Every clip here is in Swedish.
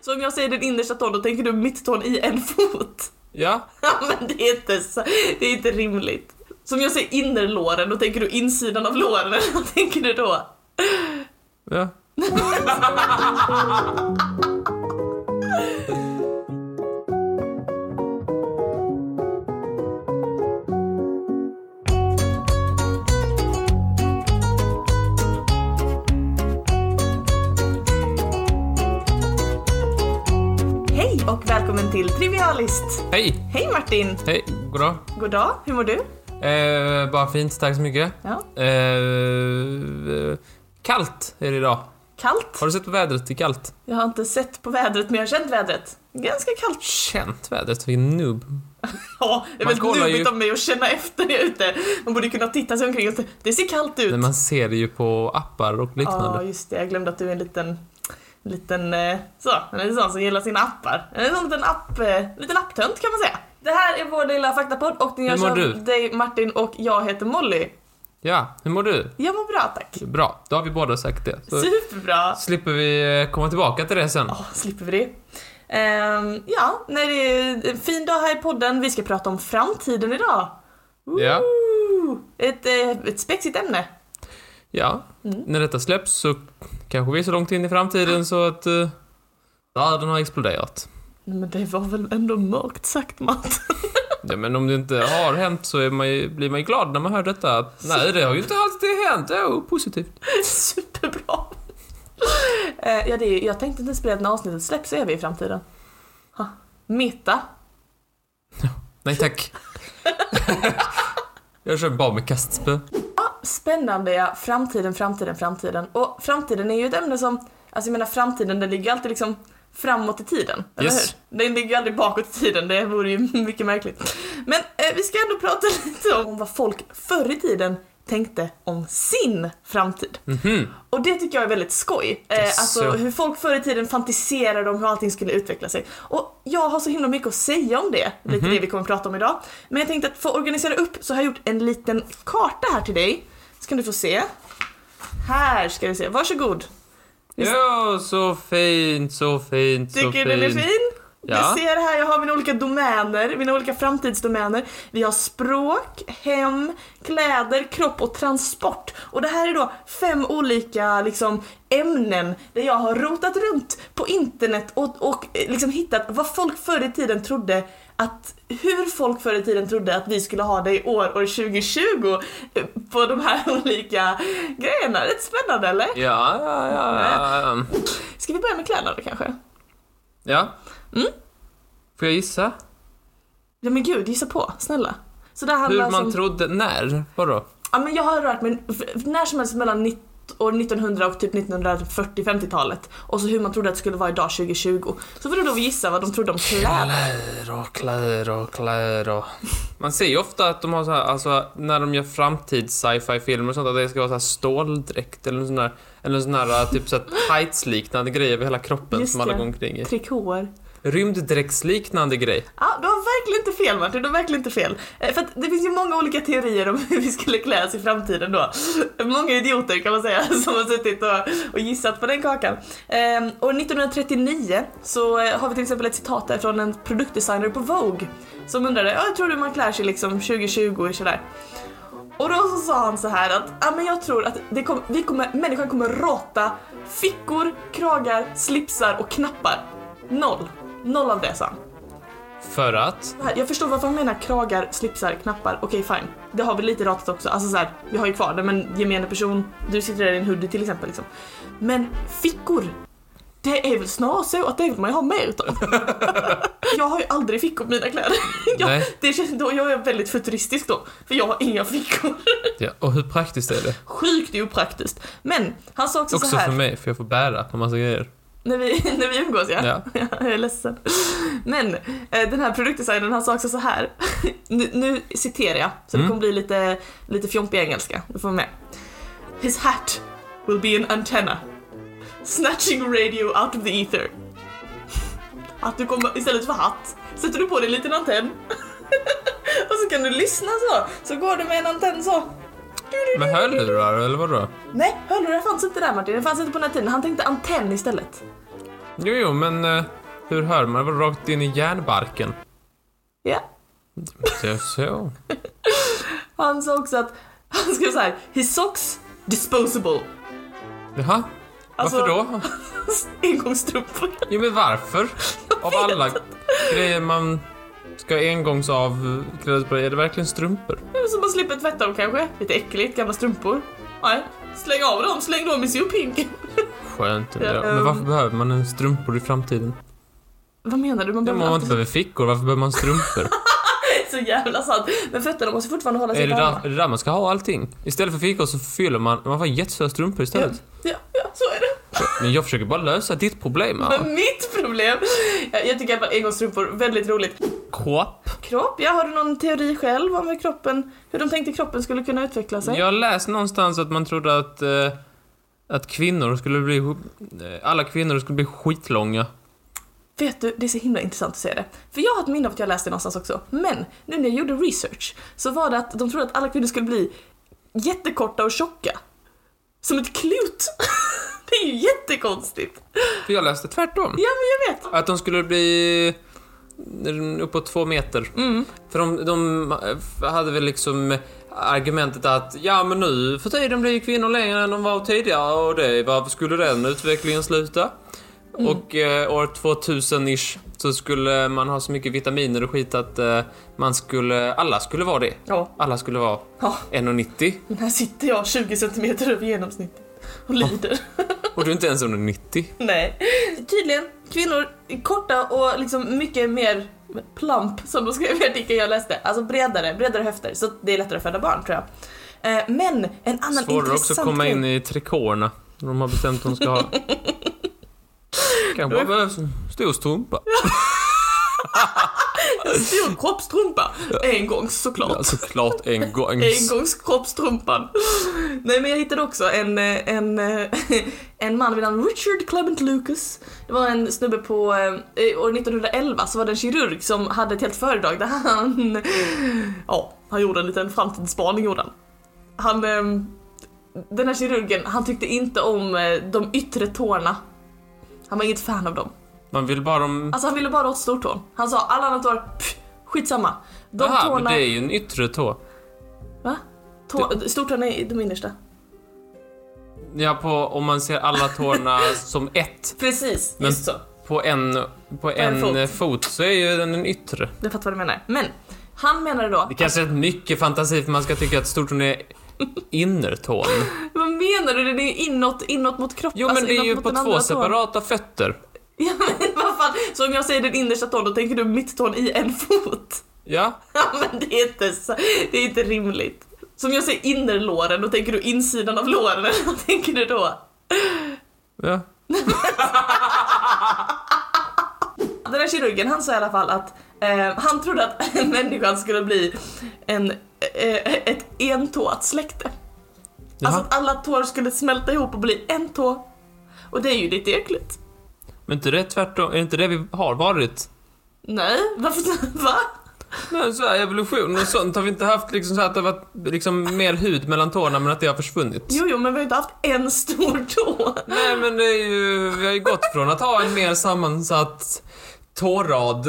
Så om jag säger den innersta tån, då tänker du mitttån i en fot? Ja, Ja, men det är inte, så- det är inte rimligt. Så om jag säger innerlåren, då tänker du insidan av låren, eller vad tänker du då? ja. Hej och välkommen till Trivialist! Hej! Hej Martin! Hej, goddag. God dag, hur mår du? Eh, bara fint, tack så mycket. Ja. Eh, eh, kallt är det idag. Kallt? Har du sett på vädret? Det är kallt. Jag har inte sett på vädret, men jag har känt vädret. Ganska kallt. Känt vädret, vilken noob. Ja, det är Man väldigt kollar ju- nubbigt av mig att känna efter när jag är ute. Man borde kunna titta sig omkring och se, det ser kallt ut. Men man ser det ju på appar och Ja, liknande. just det. Jag glömde att du är en liten... en Liten, eh, så, en sån som gillar sina appar. En sån liten, app, eh, liten apptönt kan man säga. Det här är vår lilla faktapodd och den Hur görs mår av du? dig Martin och jag heter Molly. Ja, hur mår du? Jag mår bra tack. Bra, då har vi båda sagt det. Så Superbra! slipper vi eh, komma tillbaka till det sen. Ja, slipper vi det. Ehm, ja, nej, det är en fin dag här i podden. Vi ska prata om framtiden idag. Woo! Ja. Ett, eh, ett spexigt ämne. Ja, Mm. när detta släpps så kanske vi är så långt in i framtiden så att uh, världen har exploderat. Nej, Men det var väl ändå mörkt sagt Matt. Ja, men om det inte har hänt så är man ju, blir man ju glad när man hör detta. Att, nej, det har ju inte alltid hänt. Jo, positivt. Superbra. Eh, ja, det är, jag tänkte inte ens på det att när avsnittet släpps så är vi i framtiden. Ha. Meta. Nej, tack. Jag kör bara med kastspö. Spännande ja, framtiden, framtiden, framtiden. Och framtiden är ju ett ämne som, alltså jag menar framtiden den ligger ju alltid liksom framåt i tiden, eller Yes. hur? Den ligger ju aldrig bakåt i tiden, det vore ju mycket märkligt. Men eh, vi ska ändå prata lite om vad folk förr i tiden tänkte om sin framtid. Mhm. Och Och det tycker jag är väldigt skoj. Eh, Jaså. alltså hur folk förr i tiden fantiserade om hur allting skulle utveckla sig. Och jag har så himla mycket att säga om det, lite det vi kommer att prata om idag. Men jag tänkte att för att organisera upp så har jag gjort en liten karta här till dig. Så kan du få se. Här ska du se, varsågod. Ja, så fint, så fint, så Tycker du den är fint. fin? Ja. Du ser här, jag har mina olika domäner, mina olika framtidsdomäner. Vi har språk, hem, kläder, kropp och transport. Och det här är då fem olika liksom, ämnen där jag har rotat runt på internet och, och eh, liksom hittat vad folk förr i tiden trodde att hur folk förr i tiden trodde att vi skulle ha det i år, år 2020 eh, på de här olika grejerna. Rätt spännande eller? Ja, ja, ja, ja. Ska vi börja med kläderna då kanske? Ja. Mm. Får jag gissa? Ja men gud, gissa på, snälla. Så det handlar alltså Hur man om... trodde, när? Vadå? Ja men jag har rört mig f- när som helst mellan 19 år 1900 och typ 1940-50-talet. Och så hur man trodde att det skulle vara idag 2020. Så får du då gissa vad de trodde om kläder. Kläder och kläder och kläder och... Man ser ju ofta att de har så här, alltså när de gör framtids sci-fi filmer och sånt, att det ska vara så här ståldräkt eller en sån där, eller en sån där typ så här tights-liknande grej över hela kroppen Just som alla det. går omkring i. Trikåer. Rymddräktsliknande grej. Ja, du har verkligen inte fel Martin, du har verkligen inte fel. Eh, För att det finns ju många olika teorier om hur vi skulle klä oss i framtiden då. Många idioter kan man säga som har suttit och, och gissat på den kakan. Eh, Och 1939 så eh, har vi till exempel ett citat där från en produktdesigner på Vogue som undrade, ja, jag tror du man klär sig liksom 2020 och sådär. Och då så sa han så här att ja men jag tror att det kom, vi kommer, människan kommer rata fickor, kragar, slipsar och knappar. Noll. Noll av det sa han. För att... Här, Jag förstår varför han menar kragar, slipsar, knappar. Okej fine. Det har vi lite ratat också. Alltså så här, vi har ju kvar det men gemene person, du sitter där i en hoodie till exempel. Liksom. Men fickor! Det är väl snarare så att det vill man ju ha mer utav. jag har ju aldrig fickor på mina kläder. jag, Nej. det känns, då, jag är väldigt futuristisk då, för jag har inga fickor. Ja, och hur praktiskt är det? Sjukt opraktiskt. Men han sa också, så Också här, för mig, för jag får bära på massa grejer. när vi, när vi umgås ja. Ja. Ja, jag är ledsen. Men eh, den här produktdesignern han sa också så här. nu, nu citerar jag, så det Mm. kommer bli lite, lite fjompig engelska. Du får vara med. His hat will be an antenna. Snatching radio out of the ether. Att du kommer, istället för hatt, sätter du på dig en liten antenn. Och så kan du lyssna så. Så går du med en antenn så. Med hörlurar eller vadå? Nej, hörlurar fanns inte där Martin. Det fanns inte på den här tiden. Han tänkte antenn istället. Jo, jo, men eh, hur hör man? Det var rakt in i järnbarken. Ja. Så, så. Han sa också att, han skrev så här, his socks disposable. Jaha, Alltså- varför då? Engångsstrumpor. Jo, men varför? Av alla grejer man ska engångsavklädas på, är det verkligen strumpor? Som man slipper tvätta dem kanske. Lite äckligt, gamla strumpor. Nej, släng av dem, släng dem i sophinken. Skönt ändå. Ja, Men ehm. varför behöver man en strumpor i framtiden? Vad menar du? Man behöver Ja, men Om man ja, inte behöver fickor, varför behöver man strumpor? Alltså, så jävla sant. Men fötterna måste fortfarande hålla sig är, det varma. där, är det där man ska ha allting? Istället för fickor så fyller man... Man får jättestora strumpor istället. Ja, ja, så är det. Men jag försöker bara lösa ditt problem. Ja. Men mitt problem. Jag, jag tycker i alla fall engångsstrumpor, väldigt roligt. Kropp. Kropp, ja, har du någon teori själv om hur kroppen, hur de tänkte kroppen skulle kunna utveckla sig? Jag läste någonstans att man trodde att... Eh, att kvinnor skulle bli... eh, Alla kvinnor skulle bli skitlånga. Vet du, det är så himla intressant att säga det. För jag har ett minne av att jag läste det någonstans också. Men nu när jag gjorde research så var det att de trodde att alla kvinnor skulle bli jättekorta och tjocka. Som ett klut. det är ju jättekonstigt. För jag läste tvärtom. Ja, men jag vet. Att de skulle bli uppåt två meter. Mm. För de, de hade väl liksom argumentet att ja men nu för tiden blir ju kvinnor längre än de var tidigare och det, varför skulle den utvecklingen sluta? Och eh, år 2000-ish så skulle man ha så mycket vitaminer och skit att eh, man skulle, alla skulle vara det. Ja, Alla skulle vara Ja. 1,90 men här sitter jag 20 centimeter över genomsnittet och lider. och du är inte ens 1,90. Nej. Tydligen, kvinnor är korta och liksom mycket mer plump som de skrev i artikeln jag läste. Alltså bredare, bredare höfter. Så det är lättare att föda barn tror jag. Eh, Men en annan Svårare också att intressant komma grej- in i trikåerna de har bestämt att de ska ha. Kanske bara behövs en stor strumpa. En stor kroppstrumpa. Engångs såklart. Ja, såklart en gång. Engångskroppstrumpan. Nej men jag hittade också en, eh, en, eh, en man vid namn Richard Clement Lucas. Det var en snubbe på, eh, år 1911 så var det en kirurg som hade ett helt föredrag där han, ja, han gjorde en liten framtidsspaning gjorde han. Han, eh, den här kirurgen, han tyckte inte om eh, de yttre tårna. Han var inget fan av dem. Man vill bara de... Alltså han ville bara åt stortån. Han sa alla andra tår, pff, skitsamma. De Aha, tårna... men det är ju en yttre tå. Va? Tå, Stortån är de innersta. Ja, på, om man ser alla tårna som ett Precis, Men- just så. på en, på en, fot. eh, fot. så är ju den en yttre. Jag fattar vad du menar. Men han menade då, Det kanske är mycket fantasi för man ska tycka att stortån är innertån. vad menar du? Det är ju inåt, inåt mot kroppen. Jo, men alltså det är inåt ju mot på den två andra tån. separata fötter. Ja, men vad fan. Så om jag säger den innersta tån, då tänker du mitttån i en fot? Ja, Ja, men det är inte, så- det är inte rimligt. Som jag säger innerlåren, då tänker du insidan av låren. eller Vad tänker du då? ja. Den här kirurgen han sa i alla fall att eh, han trodde att människan skulle bli en, eh, ett entåat släkte. Jaha. Alltså att alla tår skulle smälta ihop och bli en tå. Och det är ju lite äckligt. Men inte det tvärtom? Är det inte det vi har varit? Nej, varför? Va? Men så här, evolution och sånt har vi inte haft liksom så här att det har varit liksom mer hud mellan tårna men att det har försvunnit? Jo, jo, men vi har inte haft en stor tå. Nej men det är ju, vi har ju gått från att ha en mer sammansatt tårrad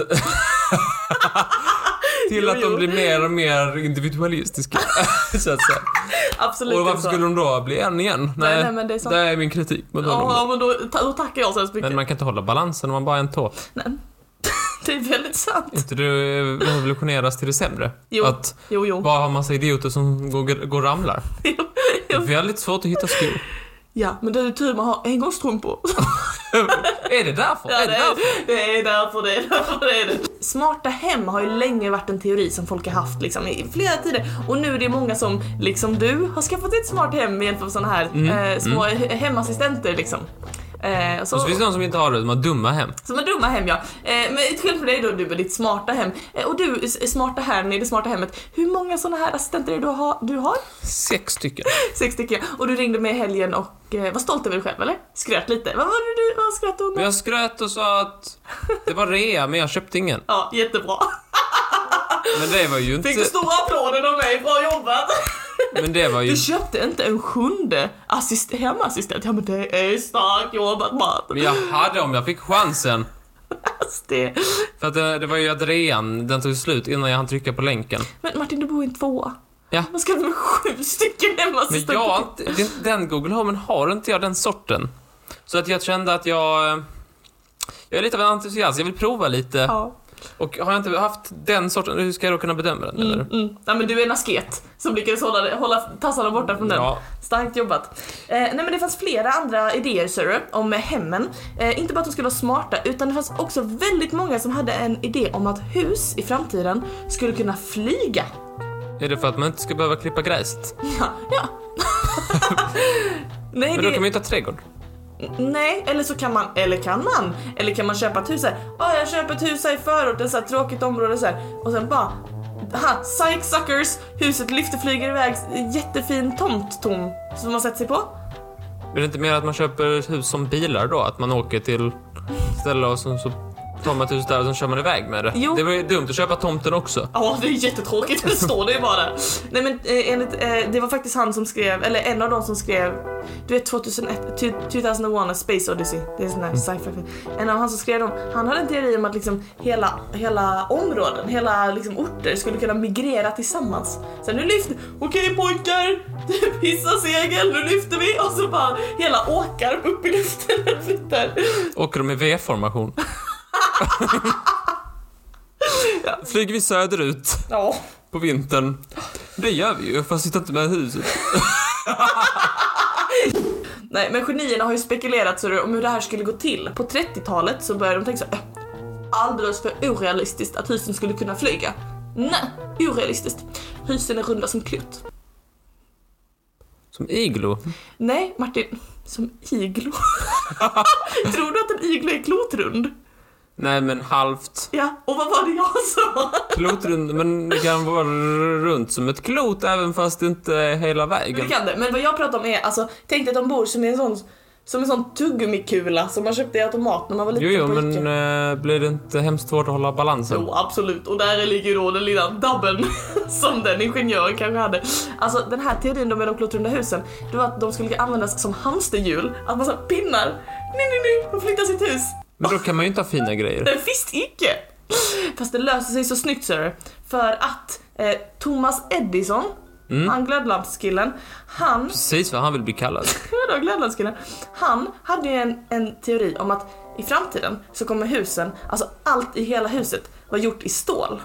till Jo, att de jo. blir mer och mer individualistiska. så att säga. Absolut Och varför inte. skulle de då bli en igen? Nej, nej, men det är sant. är min kritik mot honom. Ja, men då, ta- då tackar jag så hemskt mycket. Men man kan inte hålla balansen om man bara är en tå. Nej. det är väldigt sant. Inte du revolutioneras till det sämre? Jo. Att Jo, jo. bara ha massa idioter som går, går och ramlar. Det är väldigt svårt att hitta skor. Ja, men det är ju tur man har engångsstrumpor. är det därför? Ja, är det, det därför? är, det är därför det är därför det är det. Smarta hem har ju länge varit en teori som folk har haft liksom, i flera tider och nu är det många som, liksom du, har skaffat ett smart hem med hjälp av såna här Mm, eh, små he- hemassistenter liksom. Eh, och så, Och så finns det de som inte har det, de har dumma hem. som är dumma hem ja. Eh, men till skillnad från dig då du med ditt smarta hem. Eh, och du s- smarta herrn i det smarta hemmet. Hur många såna här assistenter är det du har? Du har? Sex stycken. Sex stycken. Och du ringde med i helgen och eh, var stolt över dig själv eller? Skröt lite. Vad var det du vad skröt du om? Men jag skröt och sa att det var rea, men jag köpte ingen. Ja, jättebra. Men det var ju inte... Fick du stora applåder av mig, bra jobbat! Men det var ju... Du köpte inte en sjunde assist- hemassistent. Ja men det är starkt jobbat man. Men jag hade om jag fick chansen. Alltså, det... För att det, det var ju att rean, den tog slut innan jag hann trycka på länken. Men Martin, du bor i en tvåa. Ja. Vad ska du med sju stycken Men hemassistenter? jag, har inte- det- den Google Home har inte jag den sorten. Så att jag kände att jag... eh, Jag är lite av en entusiast, jag vill prova lite. Ja. Och har jag inte haft den sorten, hur ska jag då kunna bedöma den eller? Mm, mm. Nej men du är en asket som lyckades hålla, hålla tassarna borta från den. Ja, Starkt jobbat. Eh, nej men det fanns flera andra idéer Sir, om eh, hemmen. Eh, inte bara att de skulle vara smarta utan det fanns också väldigt många som hade en idé om att hus i framtiden skulle kunna flyga. är det för att man inte ska behöva klippa gräset? Ja, ja. nej, Men då det, kan man ju inte ha trädgård. nej, eller så kan man, eller kan man, eller kan man köpa ett hus här. Ja, jag köper ett hus här i förorten, så här tråkigt område så här. Och sen bara, ha, psych suckers, huset lyfter, flyger iväg, jättefin tomt tom som man sätter sig på. Är det inte mer att man köper ett hus som bilar då? Att man åker till ställe och så, så tar man ett hus där och så kör man iväg med det? Jo. Det var ju dumt att köpa tomten också. Ja, det är jättetråkigt. Det står det ju bara. Nej men eh, enligt, eh, det var faktiskt han som skrev, eller en av dem som skrev, du vet 2001, tu- 2001 A Space Odyssey, det är en sån här sci-fi film. En av han som skrev dem, han hade en teori om att liksom hela, hela områden, hela liksom orter skulle kunna migrera tillsammans. Sen nu lyfter, okej pojkar, hissa segel, nu lyfter vi och så bara hela åkar upp i luften och flyttar. Åker de i V-formation? Flyger vi söderut Ja. på vintern? Det gör vi ju, fast sitter inte med huset. Nej, men genierna har ju spekulerat så det- om hur det här skulle gå till. På 30-talet så började de tänka så här, "Äh, alldeles för orealistiskt att husen skulle kunna flyga. Nej, orealistiskt. Husen är runda som klot. Som iglo. Nej, Martin, som iglo. Tror du att en iglo är klotrund? Nej men halvt. Ja, och vad var det jag sa? Klotrund, men det kan vara runt som ett klot även fast det inte är hela Men vägen. det kan det. Men vad jag pratar om är, alltså, tänk dig att de bor som i en sån som en sån tuggummikula som man köpte i automat när man var liten Jo, jo, pojke. men eh, blir det inte hemskt svårt att hålla balansen? Jo, absolut. Och där ligger ju då den lilla dabben som den ingenjören kanske hade. Alltså den här teorin då med de klotrunda husen, det var att de skulle användas som hamsterhjul. Att man så här pinnar, nej, nej, nej, och flyttar sitt hus. Men då kan man ju inte ha fina grejer. Nej, visst icke! Fast det löser sig så snyggt sir. För att eh, Thomas Edison, han glödlampskillen, han Precis vad han vill bli kallad. Vadå glödlampskillen? Han hade ju en, en teori om att i framtiden så kommer husen, alltså allt i hela huset vara gjort i stål.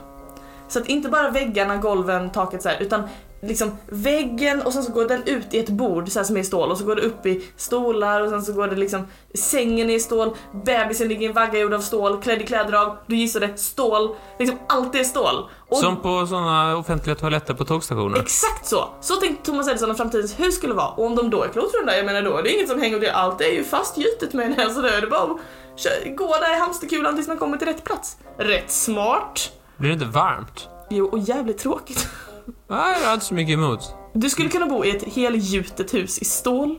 Så att inte bara väggarna, golven, taket så här, utan liksom väggen och sen så går den ut i ett bord så här, som är i stål och så går det upp i stolar och sen så går det liksom sängen är i stål, bebisen ligger i en vagga gjord av stål, klädd i kläder av, du gissade, stål. Liksom allt är stål. Och Som på såna offentliga toaletter på tågstationer. Exakt så! Så tänkte Thomas Edison att framtidens hus skulle vara. Och om de då är klotrunda, jag menar då är det inget som hänger och det, allt är ju fastgjutet med en här, så då är det bara att kö- gå där i hamsterkulan tills man kommer till rätt plats. Rätt smart! Blir det inte varmt? Jo, och jävligt tråkigt. Nej, jag har inte så mycket emot. Du skulle kunna bo i ett helgjutet hus i stål.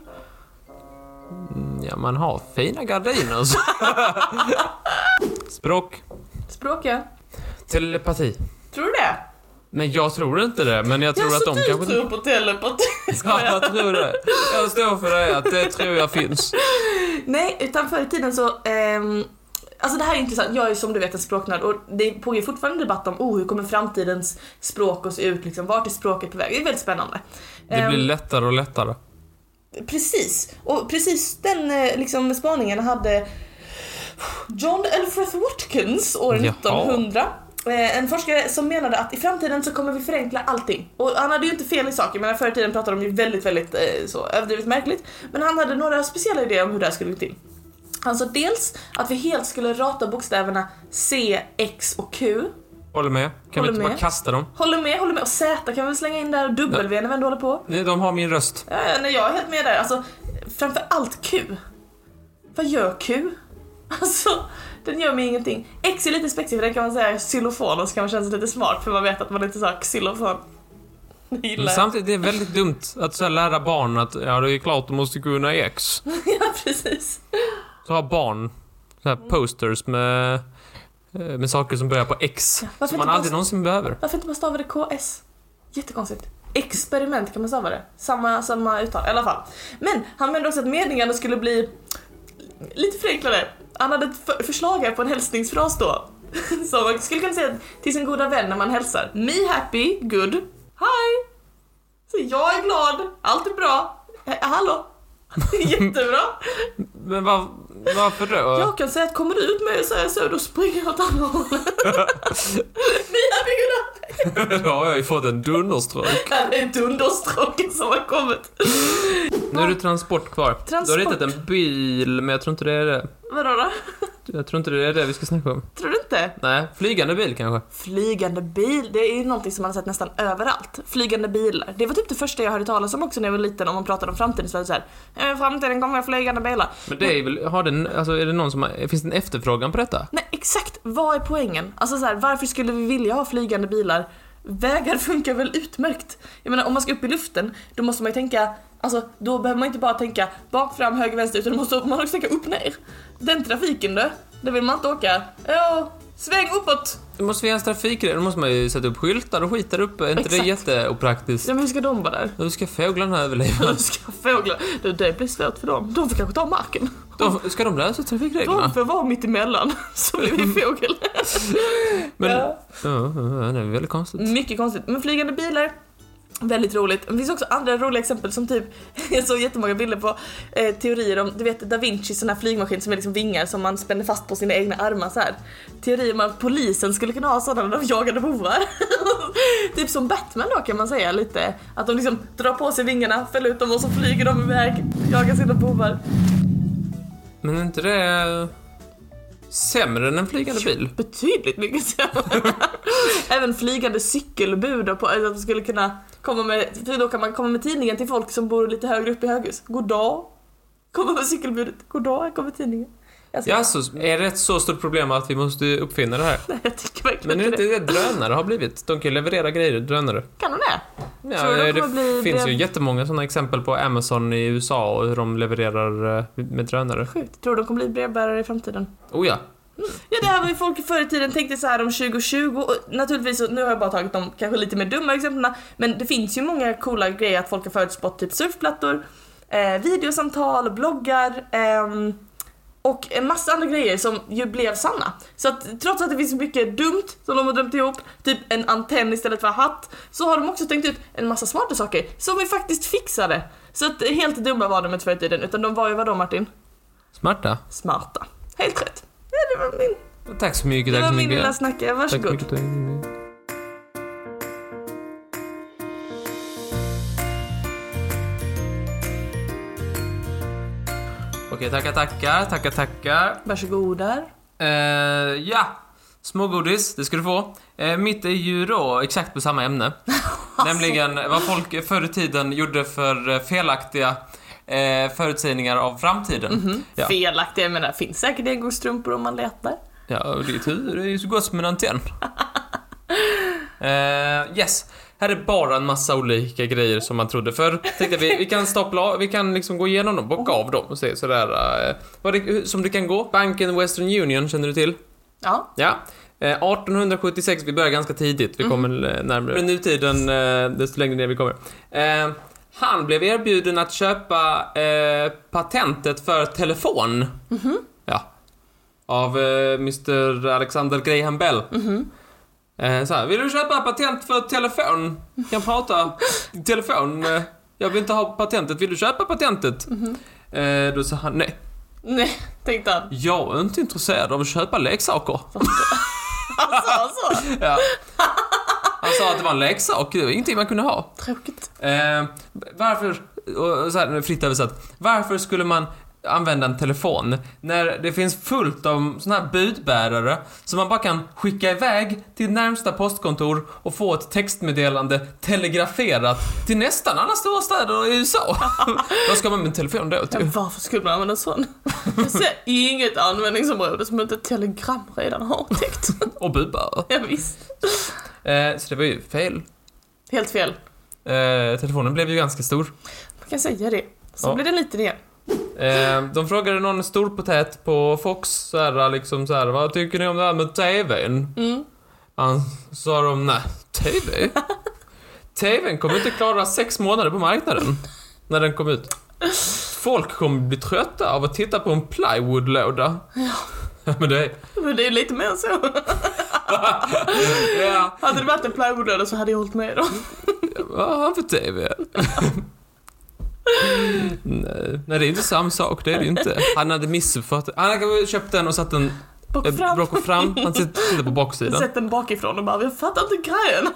Mm, Ja, man har fina gardiner. så. Språk. Språk ja. Telepati. Tror du det? Men jag tror inte det, men jag tror ja, att så de du kanske... tror på telepati? Ja, jag tror det. Jag står för det, att det tror jag finns. Nej, utan förr i tiden så... ehm, alltså det här är intressant, jag är ju som du vet en språknörd och det pågår fortfarande debatt om oh, hur kommer framtidens språk att se ut, liksom, vart är språket på väg? Det är väldigt spännande. Det blir Ehm, lättare och lättare. Precis, och precis den eh, liksom, spaningen hade John Elfrith Watkins år Jaha. 1900. Eh, En forskare som menade att i framtiden så kommer vi förenkla allting. Och han hade ju inte fel i saker, men förr i tiden pratade de ju väldigt, väldigt eh, så överdrivet märkligt. Men han hade några speciella idéer om hur det här skulle gå till. Han sa dels att vi helt skulle rata bokstäverna C, X och Q. Håller med. Kan Håller vi inte bara med. kasta dem? Håller med, håller med. Och Z kan vi väl slänga in där, och W när vi ändå håller på. Nej, de har min röst. Ja, ja, Eh, nej, jag är helt med där. Alltså, framför allt Q. Vad gör Q? Alltså, den gör mig ingenting. X är lite spexig för den kan man säga xylofon och så kan man känna sig lite smart för man vet att man inte sa xylofon. Det gillar Men jag. samtidigt, det är väldigt dumt att så här lära barn att ja, det är klart du måste kunna X. Ja, precis. Så har barn så Mm. här posters med, eh, med saker som börjar på X. varför som inte man bara- aldrig någonsin behöver. Varför inte bara stava det KS? Jättekonstigt. Experiment kan man stava det. Samma, samma uttal, i alla fall. Men han menade också att meningarna skulle bli lite förenklade. Han hade ett för- förslag här på en hälsningsfras då. Så man skulle kunna säga till sin goda vän när man hälsar. Me happy, good, hi. Så jag är glad, allt är bra, Eh, hallå. Jättebra. Men var, varför då? Jag kan säga att kommer du ut med och säger så, då springer jag åt andra hållet. Me happy, good, hi. Då har jag ju fått en dunderströk. Ja, Det är dunderstråken som har kommit. Nu är det transport kvar. Du har Transport. ritat en bil, men jag tror inte det är det. Vadå då? Jag tror inte det är det vi ska snacka om. Tror du inte? Nej, flygande bil kanske. Flygande bil, det är ju någonting som man har sett nästan överallt. Flygande bilar. Det var typ det första jag hörde talas om också när jag var liten, om man pratade om framtiden så var det såhär, "Eh, framtiden kommer flygande bilar. Men det är väl, har den, alltså är det någon som har, finns det en efterfrågan på detta? Nej, exakt vad är poängen? Alltså så här, varför skulle vi vilja ha flygande bilar? Vägar funkar väl utmärkt? Jag menar om man ska upp i luften, då måste man ju tänka, alltså då behöver man inte bara tänka bak, fram, höger, vänster, utan då måste man också tänka upp, ner. Den trafiken då, där vill man inte åka. Ja, sväng uppåt! Det måste finnas trafikregler, då måste man ju sätta upp skyltar och skit där uppe. Är inte det Exakt. jätteopraktiskt? Ja men hur ska de vara där? Hur ska fåglarna överleva? Hur ska fåglar... Du, det blir svårt för dem. De får kanske ta marken. De, ska de lösa De trafikreglerna? får vara mitt emellan så blir vi fågel. Men, ja. Ja. Mm. Ja, det är väldigt konstigt. Mycket konstigt. Men flygande bilar, väldigt roligt. Men Det finns också andra roliga exempel som typ, jag såg jättemånga bilder på eh, teorier om, du vet da Vincis sån här flygmaskin som är liksom vingar som man spänner fast på sina egna armar så här. Teorier om att polisen skulle kunna ha sådana när de jagade bovar. typ som Batman då kan man säga lite. Att de liksom drar på sig vingarna, fäller ut dem och så flyger de iväg, jagar sina bovar. Men är inte det sämre än en flygande bil? Betydligt mycket sämre. Även flygande cykelbud och på, alltså att man skulle kunna komma med, för då kan man komma med tidningen till folk som bor lite högre upp i höghus. God dag. Komma med cykelbudet. God dag, här kommer tidningen. Jag, ska, Ja, så är det ett så stort problem att vi måste uppfinna det här? Nej, jag tycker verkligen Men är det inte inte det. det drönare har blivit? De kan ju leverera grejer, drönare. Kan de det? Ja, Tror du de det kommer bli- finns bli- ju jättemånga sådana exempel på Amazon i USA och hur de levererar eh, med drönare. Sjukt. Tror du de kommer bli brevbärare i framtiden? Oh ja. Ja det här var ju folk förr i tiden tänkte så här om 2020 och naturligtvis, så- nu har jag bara tagit de kanske lite mer dumma exemplen men det finns ju många coola grejer att folk har förutspått, typ surfplattor, eh, videosamtal, bloggar ehm, och en massa andra grejer som ju blev sanna. Så att trots att det finns mycket dumt som de har drömt ihop, typ en antenn istället för hatt, så har de också tänkt ut en massa smarta saker som vi faktiskt fixade. Så att helt dumma var de inte förr i tiden utan de var ju vadå Martin? Smarta. Smarta. Helt rätt. Ja, det var min Tack så mycket, det tack var så min mycket. lilla snacka, Tack så varsågod. mycket. tack så mycket. Okej, tackar, tackar, tackar, tackar. Varsågodar. Eh, ja, smågodis, det ska du få. Eh, mitt är ju då exakt på samma ämne. Nämligen vad folk förr i tiden gjorde för eh, felaktiga eh, förutsägningar av framtiden. Ja. Felaktiga, jag menar finns säkert engångsstrumpor om man letar. Ja, och ditt huvud är ju så gott som en antenn. Eh, yes. Här är bara en massa olika grejer som man trodde förr. Tänkte vi, vi kan stapla av- vi kan liksom gå igenom dem, bocka av dem och se sådär. eh, vad det, hur- som det kan gå. Banken Western Union känner du till? Ja. Ja. Eh, 1876, vi börjar ganska tidigt. Vi kommer eh, närmare nutiden eh, desto längre ner vi kommer. Eh, han blev erbjuden att köpa eh, patentet för telefon. Ja. Av eh, Mr Alexander Graham Bell. Eh, så här, vill du köpa patent för telefon? Kan prata i telefon. Eh, jag vill inte ha patentet. Vill du köpa patentet? Eh, då sa han nej. Nej, tänkte han. Jag är inte intresserad av att köpa leksaker. Alltså, så. Ja. Han sa att det var en leksak, det var ingenting man kunde ha. Tråkigt. Eh, varför, och så här, fritt översatt, varför skulle man använda en telefon när det finns fullt av såna här budbärare som man bara kan skicka iväg till närmsta postkontor och få ett textmeddelande telegraferat till nästan alla stora städer i USA. Vad ska man med en telefon då typ, Ja, till? varför skulle man använda en sån? Jag ser inget användningsområde som inte telegram redan har täckt. Och budbärare. Ja, visst. Eh, så det var ju fel. Helt fel. Eh, telefonen blev ju ganska stor. Man kan säga det. Så Ja. blir det lite det. Eh, de frågade någon storpotät på Fox så här, liksom så här, vad tycker ni om det här med TVn? Mm. Han sa de, nej, TV? TVn kommer inte klara sex månader på marknaden när den kom ut. Folk kommer bli trötta av att titta på en plywoodlåda. Ja. Men det är... Men det är ju lite mer så. Ja. Hade det varit en plywoodlåda så hade jag hållit med dem. Vad har han för TV? Nej. Nej, det är inte samma sak. Det är det ju inte. Han hade missuppfattat. Han hade köpt den och satt den Bak eh, fram. bak och fram. Han sitter på baksidan. Sett den bakifrån och bara, jag fattar inte grejen.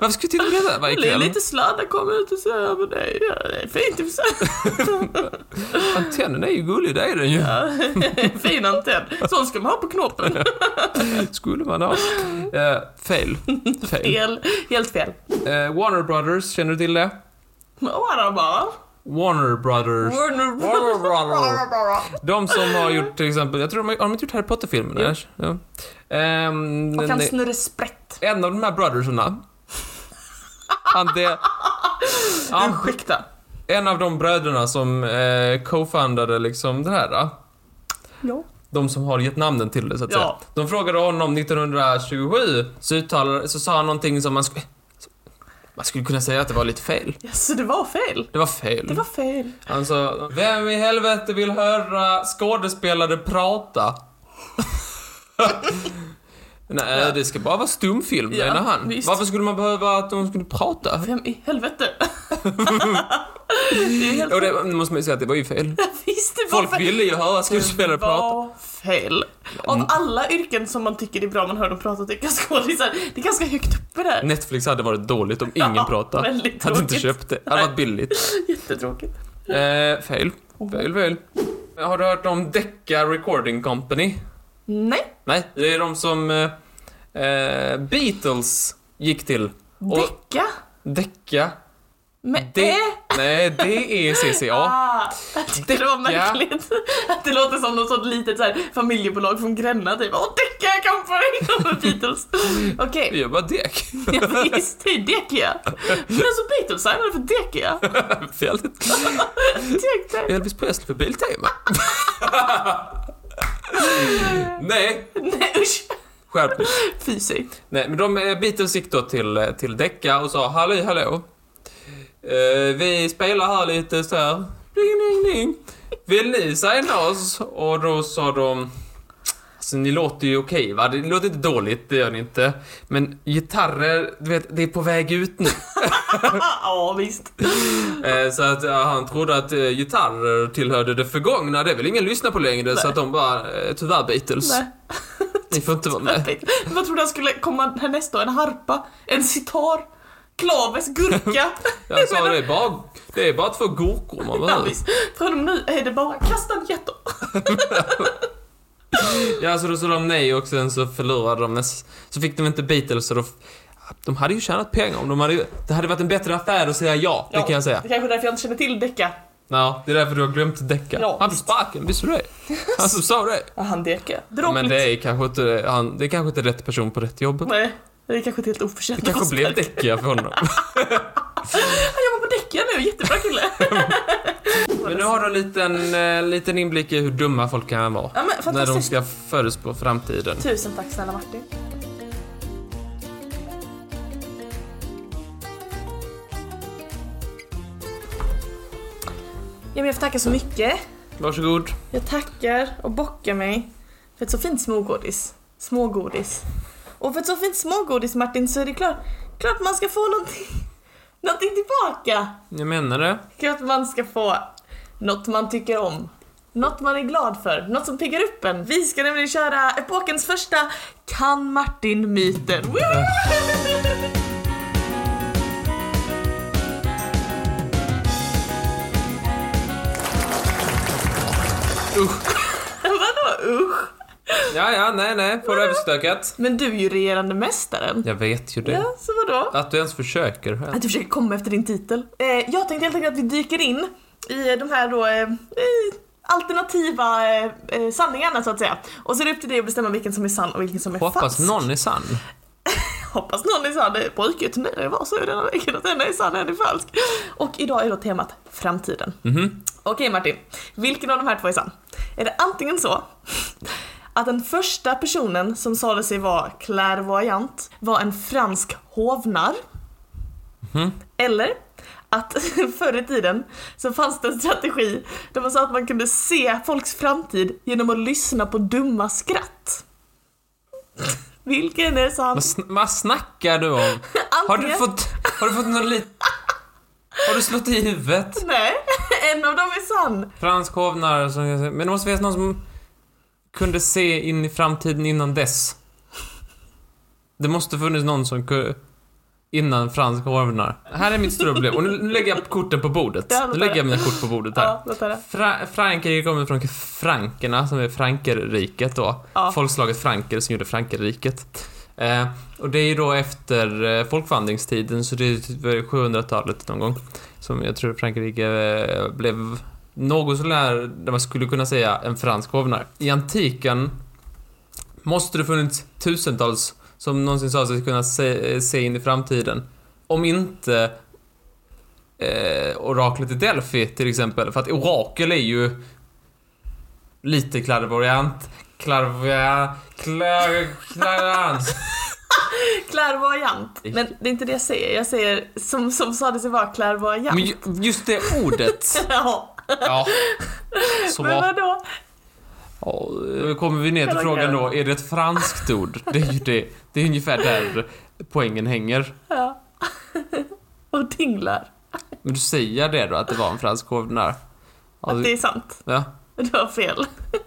Varför ska vi titta på det där? Vad Det är äckligen? lite sladdar kom ut och så, ja, men det är, ja, det är fint i och för sig. Antennen är ju gullig, det är den ju. Ja, fin antenn. Sån ska man ha på knoppen. Skulle man ha. Eh, fail. Fail. Fel. Helt fel. Eh, Warner Brothers, känner du till det? Men åh, bara. Warner Brothers. Warner Warner Brothers. Brothers. De som har gjort till exempel, jag tror de har, har de inte gjort Harry Potter-filmerna? Jo. eller? Ja. Ehm, Och han nej. snurrar sprätt. en av de här bröderna. Han det... Ja, Ursäkta. en av de bröderna som eh, co-fundade liksom det här. Då. Ja. De som har gett namnen till det så att Ja. säga. De frågade honom 1927 så, uttalade, så sa han någonting som man, sk- man skulle kunna säga att det var lite fel. Ja, så det var fel. Det var fel. Det var fel. Han sa, vem i helvete vill höra skådespelare prata? Nej, det ska bara vara stumfilm Ja, menar han. visst. Varför skulle man behöva att de skulle prata? Vem i helvete? det är helt Och det måste man ju säga att det var ju fel. Visst, det var Folk fel. ville ju höra skådespelare det prata. Mm. var fel. Av alla yrken som man tycker det är bra man hör dem prata tycker skådisar, det är ganska högt uppe där. Netflix hade varit dåligt om ingen Ja, pratade. väldigt Hade inte tråkigt. köpt det. Hade varit billigt. Jättetråkigt. Eh, fel. Fel, fel. Har du hört om Decca Recording Company? Nej, Nej, det är de som eh, eh, Beatles gick till. Och- Decca Decca med Det- Ä. Nej, E det är CCA. eh? Ah, jag tyckte det var Decca. märkligt. Att det låter som något sånt litet så här, familjebolag från Gränna typ. Åh, Decca Company! Och Beatles. Okej, Vi gör bara dek. jag visste det är Decca. Men alltså Beatles signade för Decca. Väldigt. Tänk dig. Elvis Presley för Biltema. Nej, Nej usch, skärp dig. fy sig. Nej, men de eh, Beatles gick då till, eh, till Decca och sa hallå, hallå. Eh, vi spelar här lite så här. Ding, ding, ding. Vill ni signa oss? Och då sa de Alltså ni låter ju okej va? Det låter inte dåligt, det gör ni inte. Men gitarrer, du vet, det är på väg ut nu. Ah, Ja visst. Eh, Så att ja, han trodde att eh, gitarrer tillhörde det förgångna, det vill ingen lyssna på längre. Så Nej. att de bara, eh, tyvärr Beatles, Nej. ni får inte vara med. Vad trodde han skulle komma härnäst då? En harpa? En sitar? Klaves? Gurka? Jag sa det är bara, det är bara två gurkor man Ja, behöver. visst. Från och med nu är det bara kastanjetter. Ja, så då sa de nej och sen så förlorade de näst, Så fick de inte Beatles så då, de hade ju tjänat pengar om de hade, det hade varit en bättre affär att säga ja, det Ja, kan jag säga. Det kanske är därför jag inte känner till Decca. Ja, det är därför du har glömt däcka. Ja, han fick visst. sparken, visste du det? Han som sa det. Ja, han Decca. Men Dråpligt. det är kanske inte, han, det är kanske inte rätt person på rätt jobb. Nej, det är kanske inte helt oförtjänt. Det kanske blev avspark. däckiga för honom. Han jobbar på Decca nu, jättebra kille. Men nu har du en liten, eh, liten inblick i hur dumma folk kan vara. Ja, men när de fantastiskt. ska förutspå framtiden. Tusen tack snälla Martin. Ja, men jag får tacka så mycket. Varsågod. Jag tackar och bockar mig för ett så fint smågodis. Smågodis. Och för ett så fint smågodis Martin så är det klart, klart man ska få någonting, någonting tillbaka. Jag menar det. Klart man ska få något man tycker om. Något man är glad för, något som piggar upp en. Vi ska nämligen köra epokens första Kan Martin-myten. Woo! Usch. Vadå usch? Ja, ja, nej, nej. Får du överstökat? Men du är ju regerande mästaren. Jag vet ju det. Ja, så vadå? Att du ens försöker. Att du försöker komma efter din titel. Eh, jag tänkte helt enkelt att vi dyker in i de här då eh, eh, alternativa eh, eh, sanningarna så att säga. Och så är det upp till dig att bestämma vilken som är sann och vilken som är Hoppas falsk. någon är sann. Hoppas någon är sann. Det brukar ju tendera vara så i denna veckan att en är sann och en är falsk. Och idag är då temat framtiden. Mhm. Okej Martin, vilken av de här två är sann? Är det antingen så att den första personen som sade sig vara clairvoyant var en fransk hovnar? Mhm. Eller att förr i tiden så fanns det en strategi där man sa att man kunde se folks framtid genom att lyssna på dumma skratt. Vilken är sann? Vad, sn- vad snackar du om? Har du Antingen- fått, har du fått någon liten... Har du slått i huvudet? Nej, en av dem är sann. Fransk hovnarr som... Men det måste finnas någon som kunde se in i framtiden innan dess. Det måste funnits någon som kunde... Innan fransk hovnarr. Här är mitt stora problem. Och nu lägger jag korten på bordet. Ja, låt Nu lägger jag höra. mina kort på bordet här. Ja, låt höra. Fra- Frankrike kommer från frankerna, som är frankerriket då. Ja. Folkslaget franker som gjorde frankerriket. Eh, och det är ju då efter eh, folkvandringstiden, så det är typ 700-talet någon gång. Som jag tror Frankrike eh, blev något sånär, där man skulle kunna säga, en fransk hovnar. I antiken måste det funnits tusentals som någonsin sa sig kunna se, eh, se in i framtiden. Om inte eh, oraklet i Delphi till exempel. För att orakel är ju lite klarvoyant. Klarvoyant. Klar, klarvoyant. Klärvoajant. Men det är inte det jag säger. Jag säger som, som sade sig vara klärvoajant. Men ju- just det ordet. Ja, Ja. Så. men vadå? Ja, då kommer vi ner till frågan då. Är det ett franskt ord? Det är ju det. Det är ungefär där poängen hänger. Ja. Och tinglar. Men du säger det då, att det var en fransk hovnarr? Ja, Att det är sant. ja. Du har fel.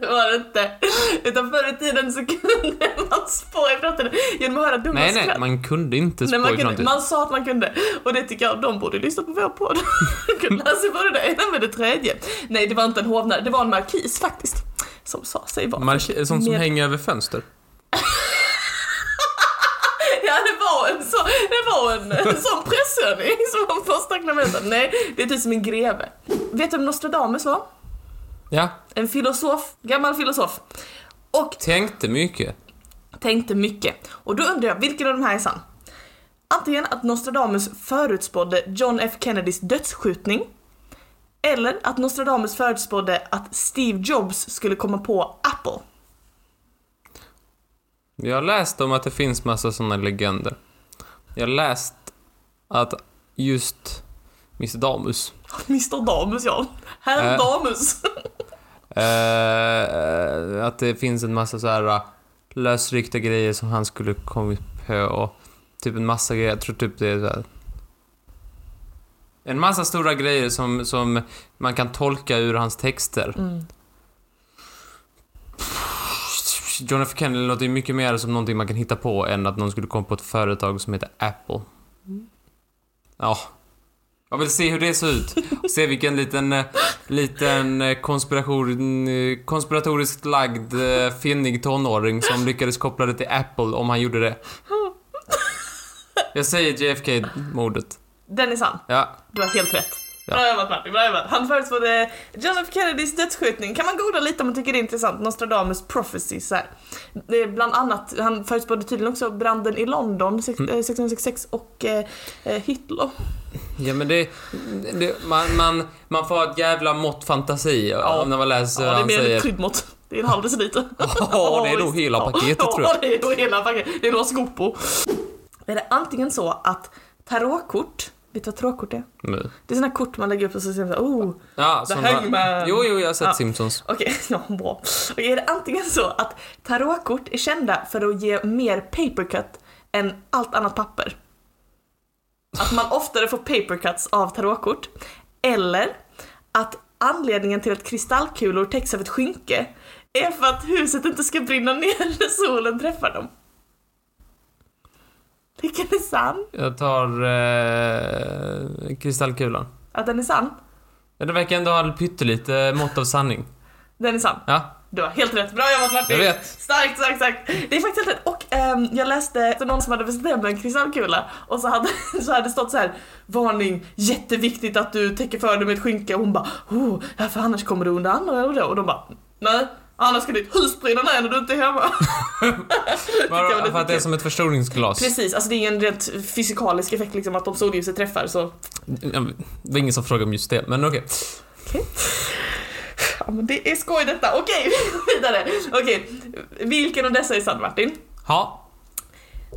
Det var det inte. Utan förr i tiden så kunde man spå i framtiden genom att höra dumma Nej, skratt. nej, man kunde inte Nej, spå man, i kunde, framtiden. man sa att man kunde. Och det tycker jag, de borde lyssna på vår podd. kunde lära sig både det ena med det tredje. Nej, det var inte en hovnare, det var en markis faktiskt. Som sa sig vara... Mark- sånt som Med- hänger över fönster. Ja, det var en, så, det var en, en sån presshörning som var första klamenten. Nej, det är typ som en greve. Vet du vem Nostradamus var? Ja, En filosof, gammal filosof. Och tänkte mycket. tänkte mycket. Och då undrar jag, vilken av de här är sann? Antingen att Nostradamus förutspådde John F Kennedys dödsskjutning. Eller att Nostradamus förutspådde att Steve Jobs skulle komma på Apple. Jag läste om att det finns massa såna legender. Jag läst att just Mr Damus Mr Damus ja. Herr Äh. Damus. Eh, att det finns en massa så här eh, lösryckta grejer som han skulle kommit på och typ en massa grejer, jag tror typ det är så här. En massa stora grejer som, som man kan tolka ur hans texter. John F Kennedy låter ju mycket mer som någonting man kan hitta på än att någon skulle komma på ett företag som heter Apple. Ja. Jag vill se hur det ser ut. Se vilken liten, eh, liten eh, konspiration, eh, konspiratoriskt lagd eh, finnig tonåring som lyckades koppla det till Apple om han gjorde det. Jag säger JFK-mordet. Den är sann. Ja. Du har helt rätt. Ja. Bra jobbat Martin, bra jobbat. Han förutspådde John F Kennedys dödsskjutning. Kan man googla lite om man tycker det är intressant. Nostradamus prophecy så här. Det är bland annat, han förutspådde tydligen också branden i London sex- eh, Mm. 1666 och eh, eh, Hitler. Ja men det, det man, man, man får ha ett jävla mått fantasi Ja. när man läser Ja, det är han mer än säger. ett kryddmått. Det är en halv deciliter. Ja, det är nog hela paketet tror jag. Ja, det är nog hela paketet. Det är några skopor. Är det antingen så att tarotkort, vet du vad tarotkort är? Nu. Det är sådana kort man lägger upp och så ser man såhär, oh, Mm. Ja, The såna, Hangman. Jo, jo, jag har sett Ja. Simpsons. Okej, ja, bra. Okej, är det antingen så att tarotkort är kända för att ge mer papercut än allt annat papper? Att man oftare får papercuts av tarotkort. Eller att anledningen till att kristallkulor täcks av ett skynke är för att huset inte ska brinna ner när solen träffar dem. Vilken är sann? Jag tar eh, kristallkulan. Att den är sann? Ja, det verkar ändå ha pyttelite mått av sanning. Den är sann. Ja, Du har helt rätt, bra jobbat Martin! Jag vet. Starkt, starkt, starkt! Det är faktiskt helt rätt. Och ehm, jag läste efter någon som hade beställt hem en kristallkula och så hade, så hade det stått så här Varning, jätteviktigt att du täcker för dig med ett skynke och hon bara oh, ja, för annars kommer du under andra och då och de bara Nej, annars ska ditt hus brinna ner när du inte är hemma. jag var bara lite för att det är kul. som ett förstoringsglas. Precis, alltså det är en rent fysikalisk effekt liksom att om solljuset träffar så Ja, Det var ingen som frågade om just det, men okej. ja, men det är skoj detta. Okej, vidare! Okej, vilken av dessa är sann Martin? Ja,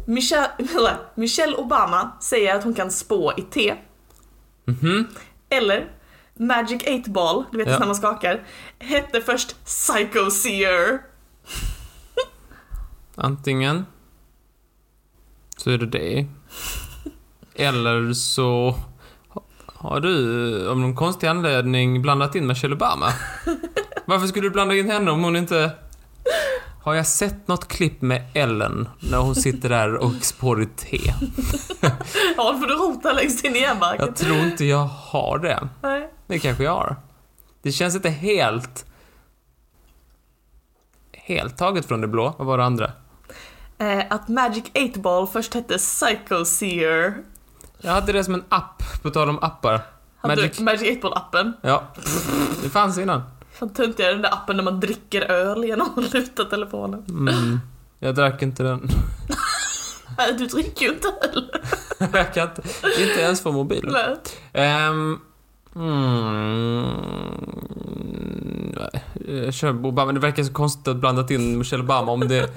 Michelle, Michelle Obama säger att hon kan spå i te. Mhm. Eller Magic 8 Ball, du vet Ja. när man skakar, hette först Psycho Seer. Antingen så är det det. Eller så har du av någon konstig anledning blandat in Michelle Obama. Varför skulle du blanda in henne om hon inte... Har jag sett något klipp med Ellen när hon sitter där och spår i te? Ja, för du rotar längst in i järnbarken. Jag tror inte jag har det. Nej. Det kanske jag har. Det känns inte helt... Helt taget från det blå. Vad var det andra? Eh, att Magic 8 Ball först hette Psycho Seer. Jag hade det som en app, på tal om appar. Hade Magic- Magic, Magic 8 Ball-appen. Ja, det fanns innan. Fan töntigare än den där appen när man dricker öl genom att luta telefonen. Mm. Jag drack inte den. Nej, du dricker ju inte öl. Jag kan inte, inte ens få mobilen. eller? Um, mm, nej, jag kör Obama. Det verkar så konstigt att blandat in Michelle Obama om det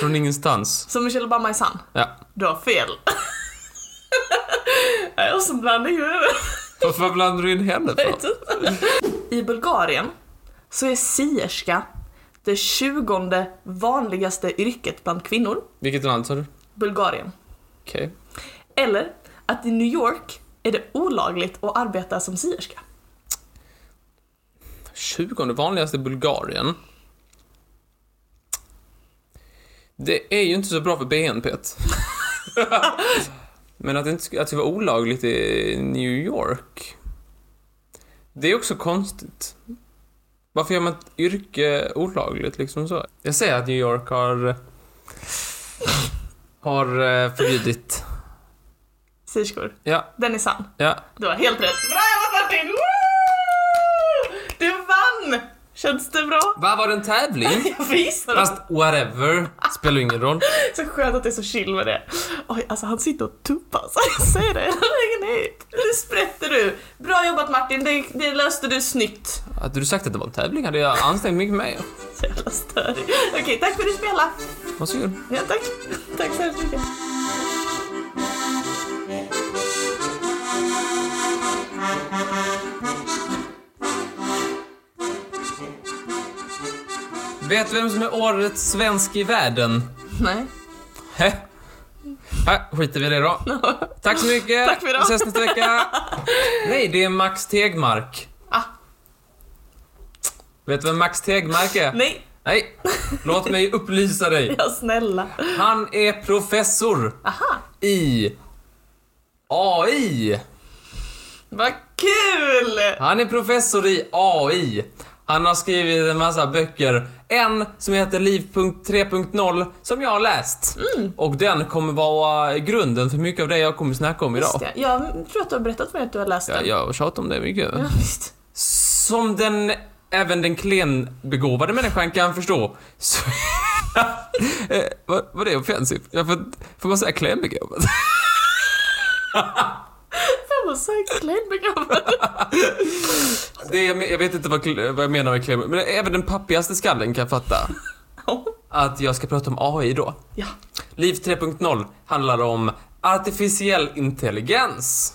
från ingenstans. Så Michelle Obama är sann? Ja. Du har fel. Nej, och så blandar jag Varför blandar du in henne för? ut. I Bulgarien så är sierska det tjugonde vanligaste yrket bland kvinnor. Vilket land sa du? Bulgarien. Okej. Eller att i New York är det olagligt att arbeta som sierska. Tjugonde vanligaste Bulgarien. Det är ju inte så bra för BNP. -t. Men att det, inte, sk- att det var olagligt i New York. Det är också konstigt. Varför gör man ett yrke olagligt liksom så? Jag säger att New York har... Har eh, förbjudit. Sierskor. Ja, Den är sann. ja. Du har helt rätt. Bra jobbat Martin! Woo! Du vann! Känns det bra? Vad var det en tävling? Jag visar Fast whatever. Spelar ingen roll. Så skönt att det är så chill med det. Oj, alltså han sitter och tuppar så jag säger det hela vägen hit. Nu sprätter du. Bra jobbat Martin, det, det löste du snyggt. Hade du sagt att det var en tävling hade jag ansträngt mycket mer. Så jävla störig. Okej, tack för att du spelade. Varsågod. Ja, tack. Tack så hemskt mycket. Vet du vem som är årets svensk i världen? Nej. Hä? Här skiter vi i det då. Tack så mycket. Tack för idag. Vi ses nästa vecka. Nej, det är Max Tegmark. Ah. Vet du vem Max Tegmark är? Nej, Nej. Låt mig upplysa dig. ja snälla. Han är professor Aha, i AI. vad kul! Han är professor i AI. Han har skrivit en massa böcker. En som heter Liv.3.0 som jag har läst. Mm. Och den kommer vara grunden för mycket av det jag kommer snacka om Just idag. det. Jag tror att du har berättat för mig att du har läst Jag, den. jag tjatar om det mycket. Ja, visst. Som den, även den klenbegåvade människan kan förstå. Så, eh, vad, vad är offensivt? Jag får, får man säga klenbegåvad? Jag var så klädd begravd. Det, jag, men- jag vet inte vad, kl- vad jag menar med klenbegåvad, men även den pappigaste skallen kan fatta Ja. att jag ska prata om AI då. Ja. Liv 3.0 handlar om artificiell intelligens.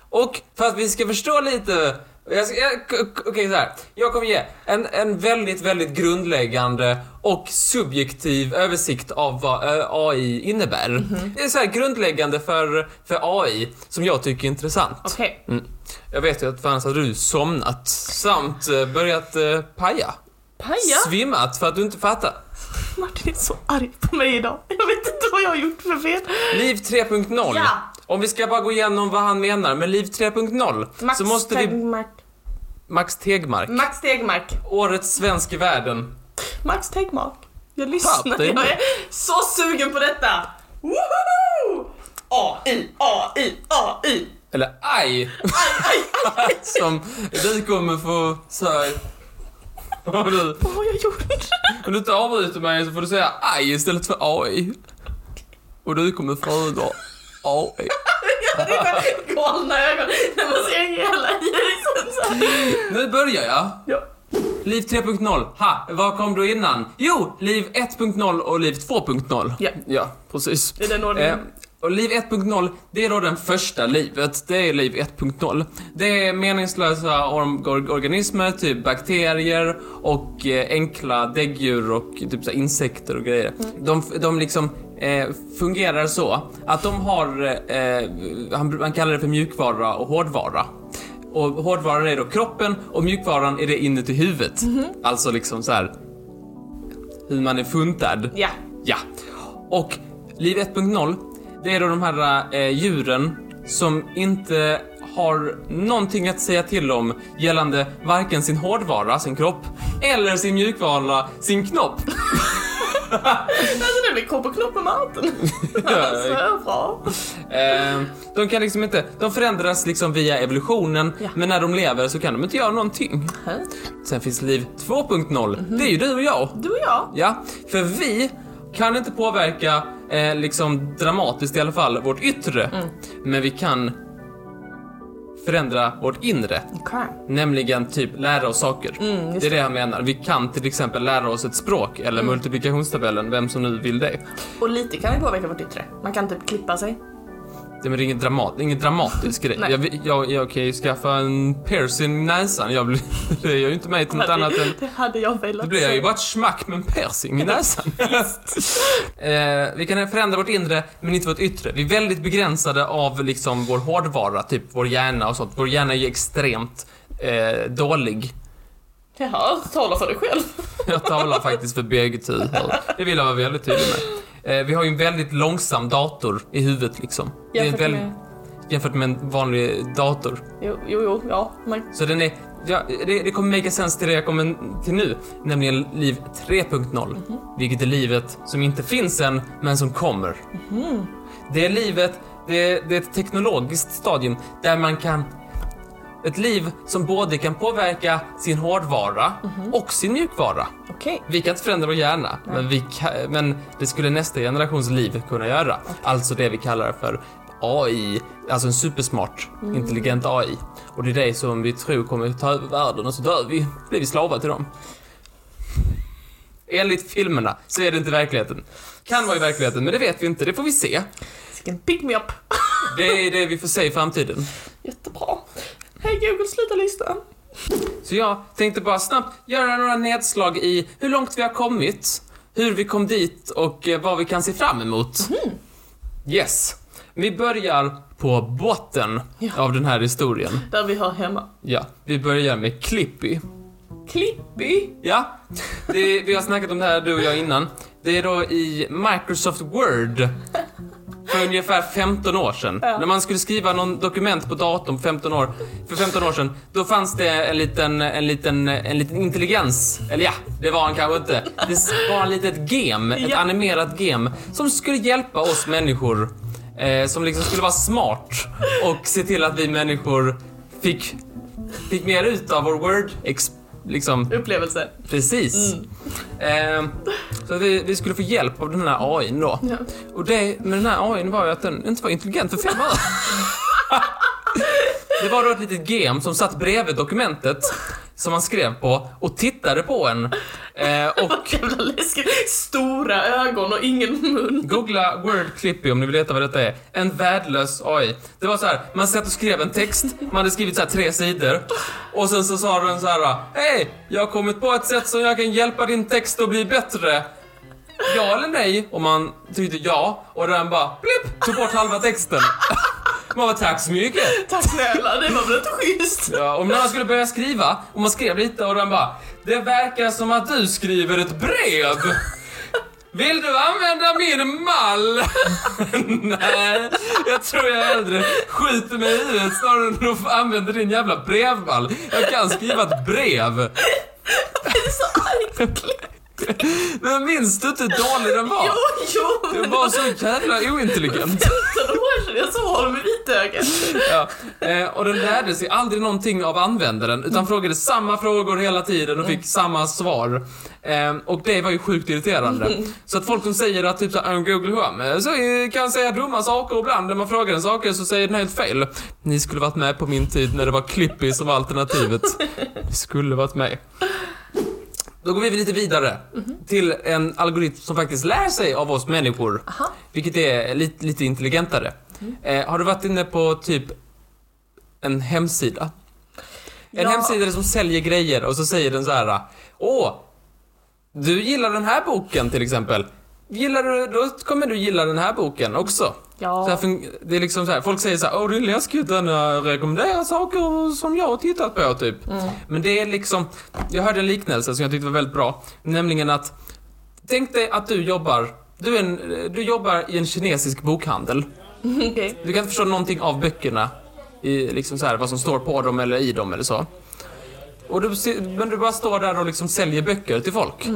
Och för att vi ska förstå lite... jag ska- jag- k- k- Okej, så här. Jag kommer ge en, en väldigt, väldigt grundläggande och subjektiv översikt av vad eh, AI innebär. Det är så här grundläggande för, för AI som jag tycker är intressant. Okej. Mm. Jag vet ju att för annars hade du somnat samt eh, börjat eh, paja. Paja? Svimmat för att du inte fattar. Martin är så arg på mig idag. Jag vet inte vad jag har gjort för fel. Liv 3.0. Ja. Om vi ska bara gå igenom vad han menar med Liv 3.0 Max så måste vi... Tegmark. Max Tegmark. Max Tegmark. Årets svensk i världen. Max Tegmark. Jag Papp, lyssnar. det är Jag är så sugen på detta! Woho! AI, AI, AI! Eller aj, Aj, aj, aj! som du kommer få säga. Om du, Vad har jag gjort? om du inte avbryter mig så får du säga aj istället för AI. Och du kommer föredra AI. Jag hade inte galna ögon när man ser hela Jason så här. Nu börjar jag. Ja. Liv 3.0, ha, vad kom du innan? Jo, Liv 1.0 och Liv 2.0. Ja. ja, precis. I den ordningen. Eh, och Liv 1.0, det är då den första livet. Det är Liv 1.0. Det är meningslösa orm- or- organismer, typ bakterier och eh, enkla däggdjur och typ så här insekter och grejer. Mm. De, de liksom eh, fungerar så att de har, eh, han, han kallar det för mjukvara och hårdvara. Och hårdvaran är då kroppen och mjukvaran är det inuti huvudet. Mhm. Alltså liksom så här hur man är funtad. Ja. Ja. Och Liv 1.0, det är då de här eh, djuren som inte har någonting att säga till om gällande varken sin hårdvara, sin kropp, eller sin mjukvara, sin knopp. Alltså det blir kopp och knopp med maten. alltså, bra. Eh, de kan liksom inte, de förändras liksom via evolutionen, Ja. men när de lever så kan de inte göra någonting. Hej. Sen finns Liv 2.0, det är ju du och jag. Du och jag. Ja, för vi kan inte påverka, eh, liksom dramatiskt i alla fall, vårt yttre. Mm. Men vi kan förändra vårt inre. Okej. Nämligen typ lära oss saker. Mm, just Mm. det är det han menar. Vi kan till exempel lära oss ett språk eller multiplikationstabellen, vem som nu vill det. Och lite kan vi påverka vårt yttre. Man kan typ klippa sig. Det är ingen, dramat, ingen dramatisk grej. Nej. Jag, vill- jag, jag kan ju skaffa en piercing i näsan. Jag blir, det gör ju inte mig till något annat än Det hade jag velat Då blir jag ju säga. bara ett smack med en piercing i näsan. eh, vi kan förändra vårt inre, men inte vårt yttre. Vi är väldigt begränsade av liksom vår hårdvara, typ vår hjärna och sånt. Vår hjärna är ju extremt eh, dålig. Jaha, tala för dig själv. Jag talar faktiskt för BGTU här. Det vill jag vara väldigt tydlig med. Eh, vi har ju en väldigt långsam dator i huvudet liksom. Det är en Jämfört väl- med- jämfört med en vanlig dator. Jo, jo, jo ja. Man... Så den är, ja, det, det kommer make sense till det jag kommer till nu, nämligen liv 3.0. Vilket är livet som inte finns än, men som kommer. Det är livet, det är, det är ett teknologiskt stadium där man kan ett liv som både kan påverka sin hårdvara och sin mjukvara. Okej. Vi kan inte förändra vår hjärna, men, vi ka- men det skulle nästa generations liv kunna göra. Alltså det vi kallar för AI, alltså en supersmart, intelligent AI. Och det är det som vi tror kommer ta över världen och så dör vi, blir vi slavar till dem. Enligt filmerna så är det inte verkligheten. Kan vara i verkligheten, men det vet vi inte, det får vi se. Vilken pick me up. Det är det vi får se i framtiden. Jättebra. Hej Google, sluta lyssna. Så jag tänkte bara snabbt göra några nedslag i hur långt vi har kommit, hur vi kom dit och eh, vad vi kan se fram emot. Yes. Vi börjar på botten Ja. av den här historien. Där vi hör hemma. Ja, vi börjar med Clippy. Klippi. Ja, det, vi har snackat om det här du och jag innan. Det är då i Microsoft Word för ungefär 15 år sedan. Ja. När man skulle skriva någon dokument på datorn för 15 år, för 15 år sedan, då fanns det en liten, en liten, en liten intelligens. Eller ja, det var han kanske inte. Det var ett litet gem, ett Ja. animerat gem som skulle hjälpa oss människor. Eh, som liksom skulle vara smart och se till att vi människor fick, fick mer ut av vår word ex, liksom, Upplevelse. Precis. Ehm, så att vi, vi skulle få hjälp av den här AIn då. Ja. Och det med den här AIn var ju att den inte var intelligent för fem öre. Det var då ett litet gem som satt bredvid dokumentet som man skrev på och tittade på en. Ehm, och Vad jävla läskigt. Stora ögon och ingen mun. Googla word clippy om ni vill veta vad detta är. En värdelös AI. Det var så här, man satt och skrev en text, man hade skrivit så här tre sidor. Och sen så sa den så här, hej, jag har kommit på ett sätt som jag kan hjälpa din text att bli bättre. Ja eller nej? Och man tryckte ja, och den bara blipp, tog bort halva texten. Man bara, tack så mycket. Tack snälla, det var väl inte schysst? Ja, om någon skulle börja skriva, och man skrev lite och den bara Det verkar som att du skriver ett brev. Vill du använda min mall? Nej, jag tror jag hellre skjuter mig i huvudet snarare än att använda din jävla brevmall. Jag kan skriva ett brev. Det är så argt. Men minns du inte hur dålig den var? Jo, jo, Den men var så jävla ointelligent. 15 år sedan jag såg honom i vitögat. Ja. Eh, och den lärde sig aldrig någonting av användaren utan frågade samma frågor hela tiden och fick samma svar. Eh, och det var ju sjukt irriterande. Så att folk som säger att typ såhär, "I'm Google Home, eh, så eh, kan jag säga dumma saker ibland. När man frågar den saker så säger den helt fel. Ni skulle varit med på min tid när det var Clippy som var alternativet. Ni skulle varit med. Då går vi lite vidare Mhm. till en algoritm som faktiskt lär sig av oss människor. Aha. Mhm. Vilket är lite, lite intelligentare. Eh, har du varit inne på typ en hemsida? En Ja. hemsida som säljer grejer och så säger den så här. Åh! Du gillar den här boken till exempel. Gillar du, då kommer du gilla den här boken också. Så här Ja. fun- det är liksom så här, folk säger så här, åh det är läskigt den eh, rekommenderar saker som jag har tittat på typ. Men det är liksom, jag hörde en liknelse som jag tyckte var väldigt bra, nämligen att tänk dig att du jobbar, du, är en, du jobbar i en kinesisk bokhandel. Okej. Du kan inte förstå någonting av böckerna, i, liksom så här, vad som står på dem eller i dem eller så. Och du, se- men du bara står där och liksom säljer böcker till folk.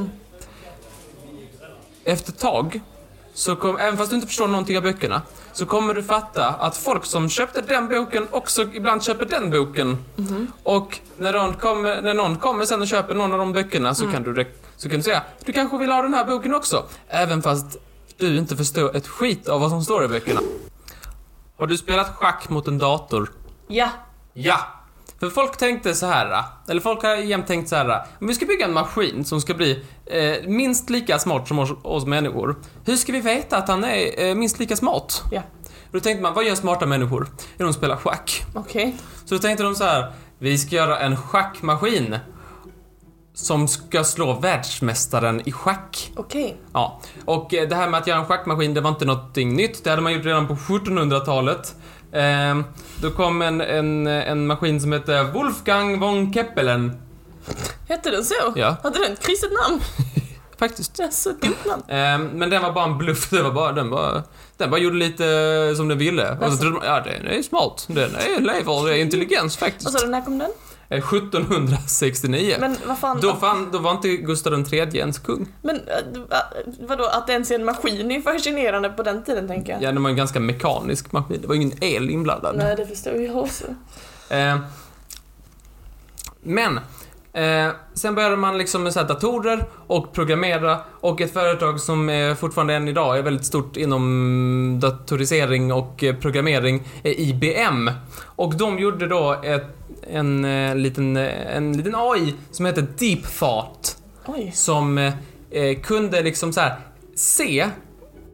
Efter ett tag, så kom, även fast du inte förstår någonting av böckerna, så kommer du fatta att folk som köpte den boken också ibland köper den boken. Och när någon, kommer, när någon kommer sen och köper någon av de böckerna så, kan du, rek- så kan du säga du kanske vill ha den här boken också. Även fast du inte förstår ett skit av vad som står i böckerna. Har du spelat schack mot en dator? Ja. Ja! För folk tänkte så här, eller folk har jämt tänkt så här, om vi ska bygga en maskin som ska bli eh, minst lika smart som oss, oss människor, hur ska vi veta att han är eh, minst lika smart? Ja. Då tänkte man, vad gör smarta människor? Jo, de spelar schack. Okej. Så då tänkte de så här, vi ska göra en schackmaskin som ska slå världsmästaren i schack. Okej. Ja, och eh, det här med att göra en schackmaskin, det var inte någonting nytt. Det hade man gjort redan på 1700-talet. Ehm, då kom en, en, en maskin som hette Wolfgang von Keppelen. Hette den så? Ja. Hade den ett kristet namn? Faktiskt. Det är så dumt namn. Ehm, men den var bara en bluff. Den, var bara, den, bara, den bara gjorde lite eh, som den ville. Och så trodde man, ja den är smart. Den är lever, det är intelligens Vad faktiskt. sa du, när kom den? Eh, 1769. Men vad fan, Då, fann, då var inte Gustav III ens kung. men äh, vadå att det ens är en maskin är ju fascinerande på den tiden tänker jag. Ja, det var en ganska mekanisk maskin. Det var ingen el inblandad. Nej det förstår jag också. Eh, men, eh, sen började man liksom med så här datorer och programmera och ett företag som eh, fortfarande än idag är väldigt stort inom datorisering och eh, programmering är IBM. Och de gjorde då ett, en, eh, liten, eh, en liten AI som heter DeepThought Oj. som eh, eh, kunde liksom så här se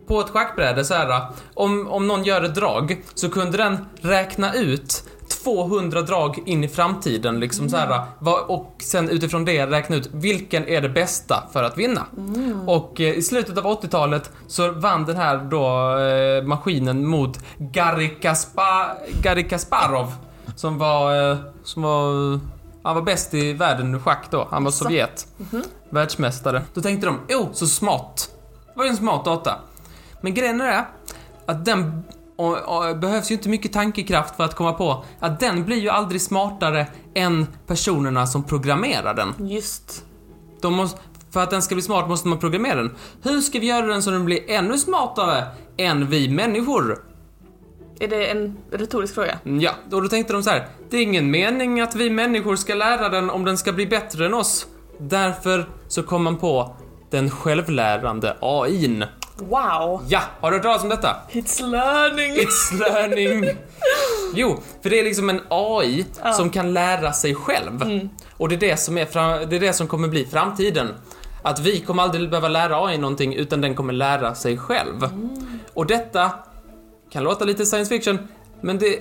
på ett schackbräde så här om, om någon gör ett drag så kunde den räkna ut 200 drag in i framtiden liksom så här vad, och sen utifrån det räkna ut vilken är det bästa för att vinna. Och eh, i slutet av 80-talet så vann den här då eh, maskinen mot Garry, Kaspa, Garry Kasparov som var, eh, som var, han var bäst i världen i schack då, han var Jaså? Sovjet världsmästare. Då tänkte de, oh, så smart. Det var ju en smart data. Men grejen är att den och, och, behövs ju inte mycket tankekraft för att komma på att den blir ju aldrig smartare än personerna som programmerar den. Just. De måste, för att den ska bli smart måste man programmera den. Hur ska vi göra den så den blir ännu smartare än vi människor? Är det en retorisk fråga? Mm, Ja, och då tänkte de så här. Det är ingen mening att vi människor ska lära den om den ska bli bättre än oss. Därför så kom man på den självlärande AIn. Wow. Ja, har du hört talas om detta? It's learning. It's learning. Jo, för det är liksom en AI som kan lära sig själv. Och det är det, som är fram, det är det som kommer bli framtiden. Att vi kommer aldrig behöva lära AI någonting utan den kommer lära sig själv. Och detta kan låta lite science fiction, men det,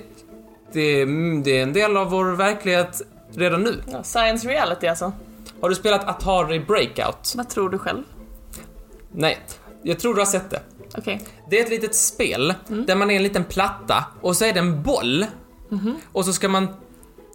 det, det är en del av vår verklighet redan nu. Ja, Science reality alltså. Har du spelat Atari Breakout? Vad tror du själv? Nej, jag tror du har sett det. Okej. Det är ett litet spel där man är en liten platta och så är det en boll. Och så ska man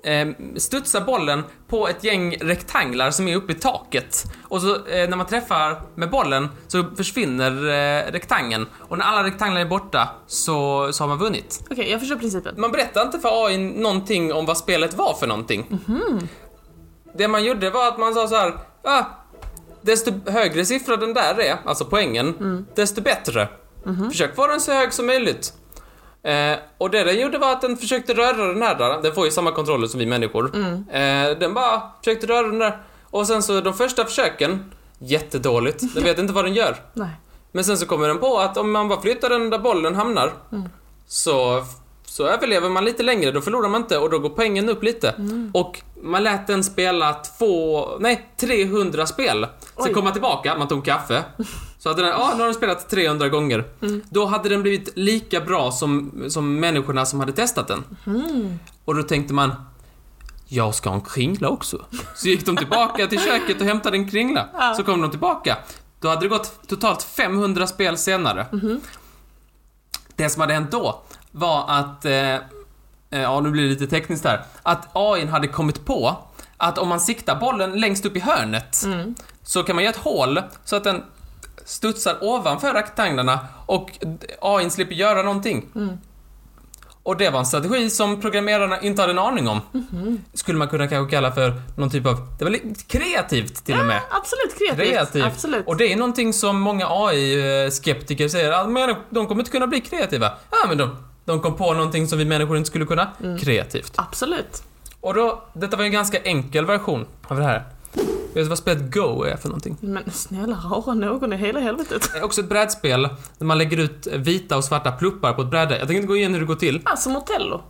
eh, studsa bollen på ett gäng rektanglar som är uppe i taket. Och så eh, när man träffar med bollen så försvinner eh, rektangeln. Och när alla rektanglar är borta så, så har man vunnit. Okej, jag förstår principen. Man berättar inte för AI någonting om vad spelet var för någonting. Det man gjorde var att man sa så här. Ah, desto högre siffra den där är, alltså poängen, desto bättre. Försök få den så hög som möjligt. Eh, och det den gjorde var att den försökte röra den här där. Den får ju samma kontroller som vi människor. Eh, den bara försökte röra den där. Och sen så de första försöken, jättedåligt. Den vet inte vad den gör. Nej. Men sen så kommer den på att om man bara flyttar den där bollen hamnar så, så överlever man lite längre, då förlorar man inte och då går poängen upp lite. Och man lät den spela två, nej 300 spel. Sen Oj. kom man tillbaka, man tog kaffe. Så hade den, ja nu har den spelat 300 gånger. Då hade den blivit lika bra som, som människorna som hade testat den. Och då tänkte man, jag ska ha en kringla också. Så gick de tillbaka till köket och hämtade en kringla. Ja. Så kom de tillbaka. Då hade det gått totalt 500 spel senare. Det som hade hänt då var att, eh, eh, ja nu blir det lite tekniskt här, att AIn hade kommit på att om man siktar bollen längst upp i hörnet så kan man göra ett hål så att den studsar ovanför rektanglarna och AIn slipper göra någonting. Och det var en strategi som programmerarna inte hade en aning om. Skulle man kunna kanske kalla för någon typ av, det var lite kreativt till och med. Absolut kreativt. Kreativt. Absolut. Och det är någonting som många AI-skeptiker säger, att men de kommer inte kunna bli kreativa. Ja, men de, de kom på någonting som vi människor inte skulle kunna. Mm. Kreativt. Absolut. Och då, detta var ju en ganska enkel version av det här. Vet du vad spelet Go är för någonting? Men snälla rara någon i hela helvetet. Det är också ett brädspel där man lägger ut vita och svarta pluppar på ett bräde. Jag tänker inte gå igenom hur det går till. Ah, som Otello.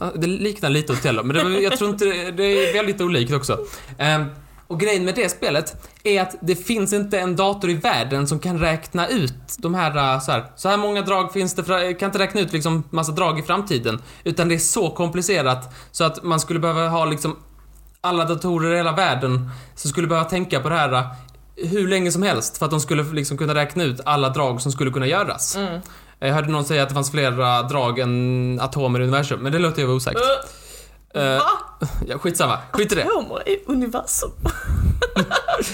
Ja, det liknar lite Otello, men det, jag tror inte det, det är väldigt olikt också. Ehm, och grejen med det spelet är att det finns inte en dator i världen som kan räkna ut de här äh, så här, så här många drag finns det, fra- kan inte räkna ut liksom massa drag i framtiden. Utan det är så komplicerat så att man skulle behöva ha liksom alla datorer i hela världen som skulle behöva tänka på det här äh, hur länge som helst för att de skulle liksom kunna räkna ut alla drag som skulle kunna göras. Mm. Jag hörde någon säga att det fanns flera drag än atomer i universum, men det låter ju vara osagt. Uh, Uh, Va? ja, skitsamma, skit i det. Atomer i universum.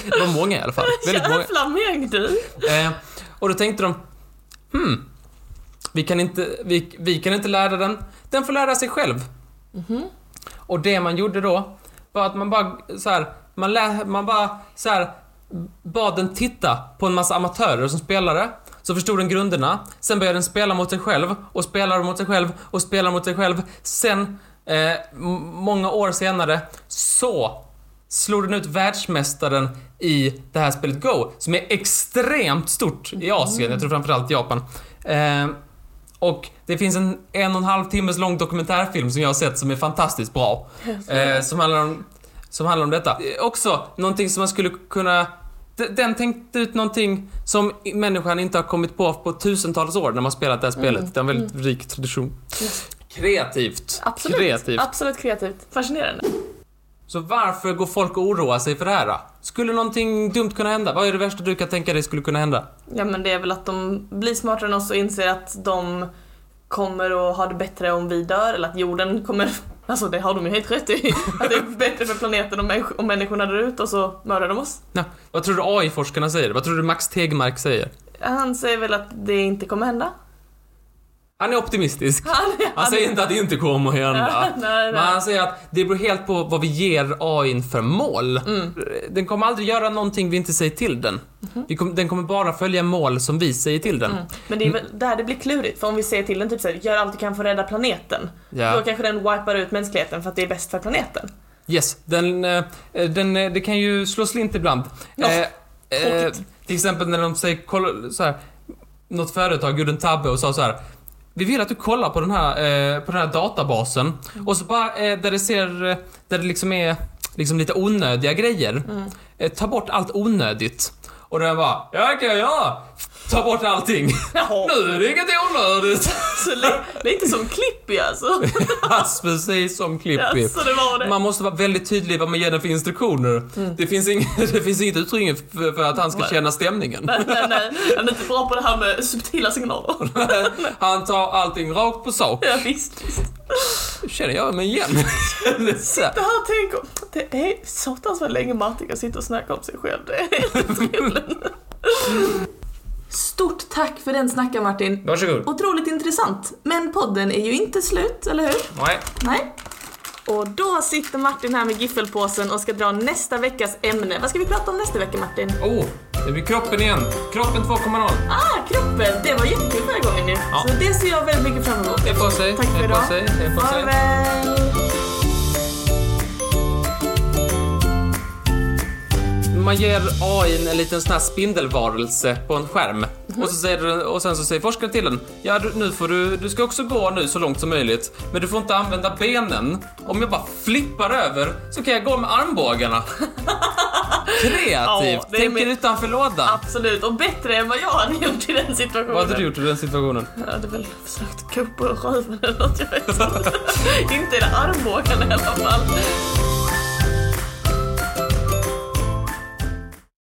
Det var många i alla fall. Väldigt många. Jävla mängd du. Eh, och då tänkte de, hmm, vi kan, inte, vi, vi kan inte lära den, den får lära sig själv. Mhm. Och det man gjorde då var att man bara så här, man, lä, man bara så här, bad den titta på en massa amatörer som spelare. Så förstod den grunderna, sen började den spela mot sig själv och spelar mot sig själv och spelar mot sig själv. Sen, eh, m- många år senare, så slog den ut världsmästaren i det här spelet Go, som är extremt stort i Asien, jag tror framförallt Japan. Eh, och det finns en en och en halv timmes lång dokumentärfilm som jag har sett som är fantastiskt bra. Eh, som, handlar om, som handlar om detta. Eh, Också någonting som man skulle kunna... d- Den tänkte ut någonting som i- människan inte har kommit på på tusentals år när man spelat det här spelet. Det är en väldigt rik tradition. Kreativt. Absolut. Kreativt. Absolut kreativt. Fascinerande. Så varför går folk och oroar sig för det här då? Skulle någonting dumt kunna hända? Vad är det värsta du kan tänka dig skulle kunna hända? Ja men det är väl att de blir smartare än oss och inser att de kommer att ha det bättre om vi dör eller att jorden kommer Alltså det har de ju helt rätt i. Att det är bättre för planeten om, människ- om människorna dör ut och så mördar de oss. Ja. Vad tror du AI-forskarna säger? Vad tror du Max Tegmark säger? Han säger väl att det inte kommer hända. Han är optimistisk. Han, Han säger inte att det inte kommer att hända. nej, Men nej. han säger att det beror helt på vad vi ger AIn för mål. Mm. Den kommer aldrig göra någonting vi inte säger till den. Mhm. Vi kom, den kommer bara följa mål som vi säger till den. Men det Mm. är väl där det blir klurigt. För om vi säger till den typ såhär, gör allt du kan för att rädda planeten. Då Ja. kanske den wipar ut mänskligheten för att det är bäst för planeten. Yes, den, eh, den, eh, det kan ju slå slint ibland. Ja, Eh, eh, tråkigt. till exempel när de säger, kolla, så här, något företag gjorde en tabbe och sa så här. Vi vill att du kollar på den här, eh, på den här databasen Mm. och så bara eh, där det ser, eh, där det liksom är liksom lite onödiga grejer. Mm. Eh, ta bort allt onödigt. Och den bara, ja det kan jag göra. Ta bort allting. Jaha. nu är det inget onödigt. Så li- lite som Clippy alltså. Precis som Ja, Clippy. så det var det. Man måste vara väldigt tydlig vad man ger den för instruktioner. Det, finns ing, det finns inget utrymme för, för att han ska Mm. Nej. känna stämningen. nej, nej, nej. Han är inte bra på det här med subtila signaler. Han tar allting rakt på sak. Ja, visst, visst. Känner jag mig igen? Eller så här. Det här tänker... Det är satans vad länge Martin kan sitta och snacka om sig själv. Det är helt otroligt. Stort tack för den snacka Martin. Varsågod. Otroligt intressant. Men podden är ju inte slut, eller hur? Nej. Nej. Och då sitter Martin här med giffelpåsen och ska dra nästa veckas ämne. Vad ska vi prata om nästa vecka Martin? Oh, det blir kroppen igen. Kroppen 2.0. Ah, kroppen! Det var jättekul förra gången ju. Ja. Så det ser jag väldigt mycket fram emot. Hej på sig. Tack för Hej på idag. sig. Hej på sig. Farväl! man ger AI en liten sån här spindelvarelse på en skärm. Och, så säger, den- och sen så säger forskaren till den, ja du- nu får du, du ska också gå nu så långt som möjligt, men du får inte använda benen. Om jag bara flippar över så kan jag gå med armbågarna. Ja, det Kreativt! är Tänker mer- utanför lådan. Absolut, och bättre än vad jag hade gjort i den situationen. Vad hade du gjort i den situationen? Jag hade väl försökt kuppa röven eller något, jag vet inte. inte i armbågarna i alla fall.